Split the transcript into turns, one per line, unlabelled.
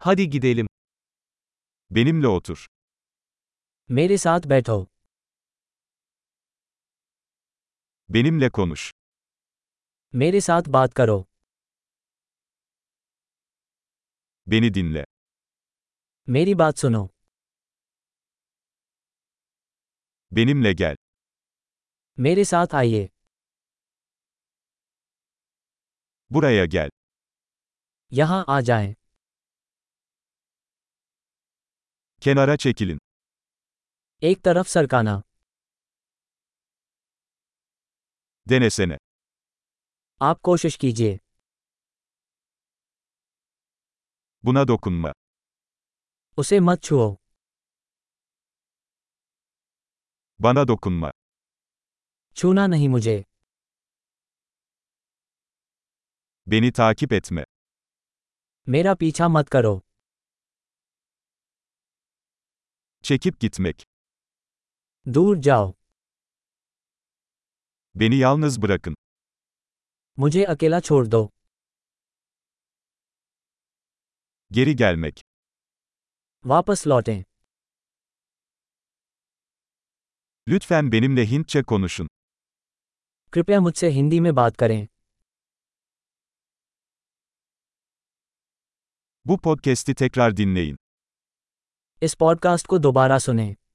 Hadi gidelim. Benimle otur.
मेरे साथ बैठो
Benimle konuş.
मेरे साथ बात करो
Beni dinle.
मेरी बात सुनो
Benimle gel.
मेरे साथ आइए
Buraya gel.
यहाँ आ जाएं
Kenara çekilin.
एक तरफ सरकाना
Denesene.
आप कोशिश कीजिए
Buna dokunma.
उसे मत छुओ
Bana dokunma.
छूना नहीं मुझे
Beni takip etme.
मेरा पीछा मत करो
Çekip gitmek.
दूर जाओ
Beni yalnız bırakın.
मुझे अकेला छोड़ दो
Geri gelmek.
वापस लौटें
Lütfen benimle Hintçe konuşun.
कृपया मुझसे हिंदी में बात करें
Bu podcast'i tekrar dinleyin.
इस पॉडकास्ट को दोबारा सुनें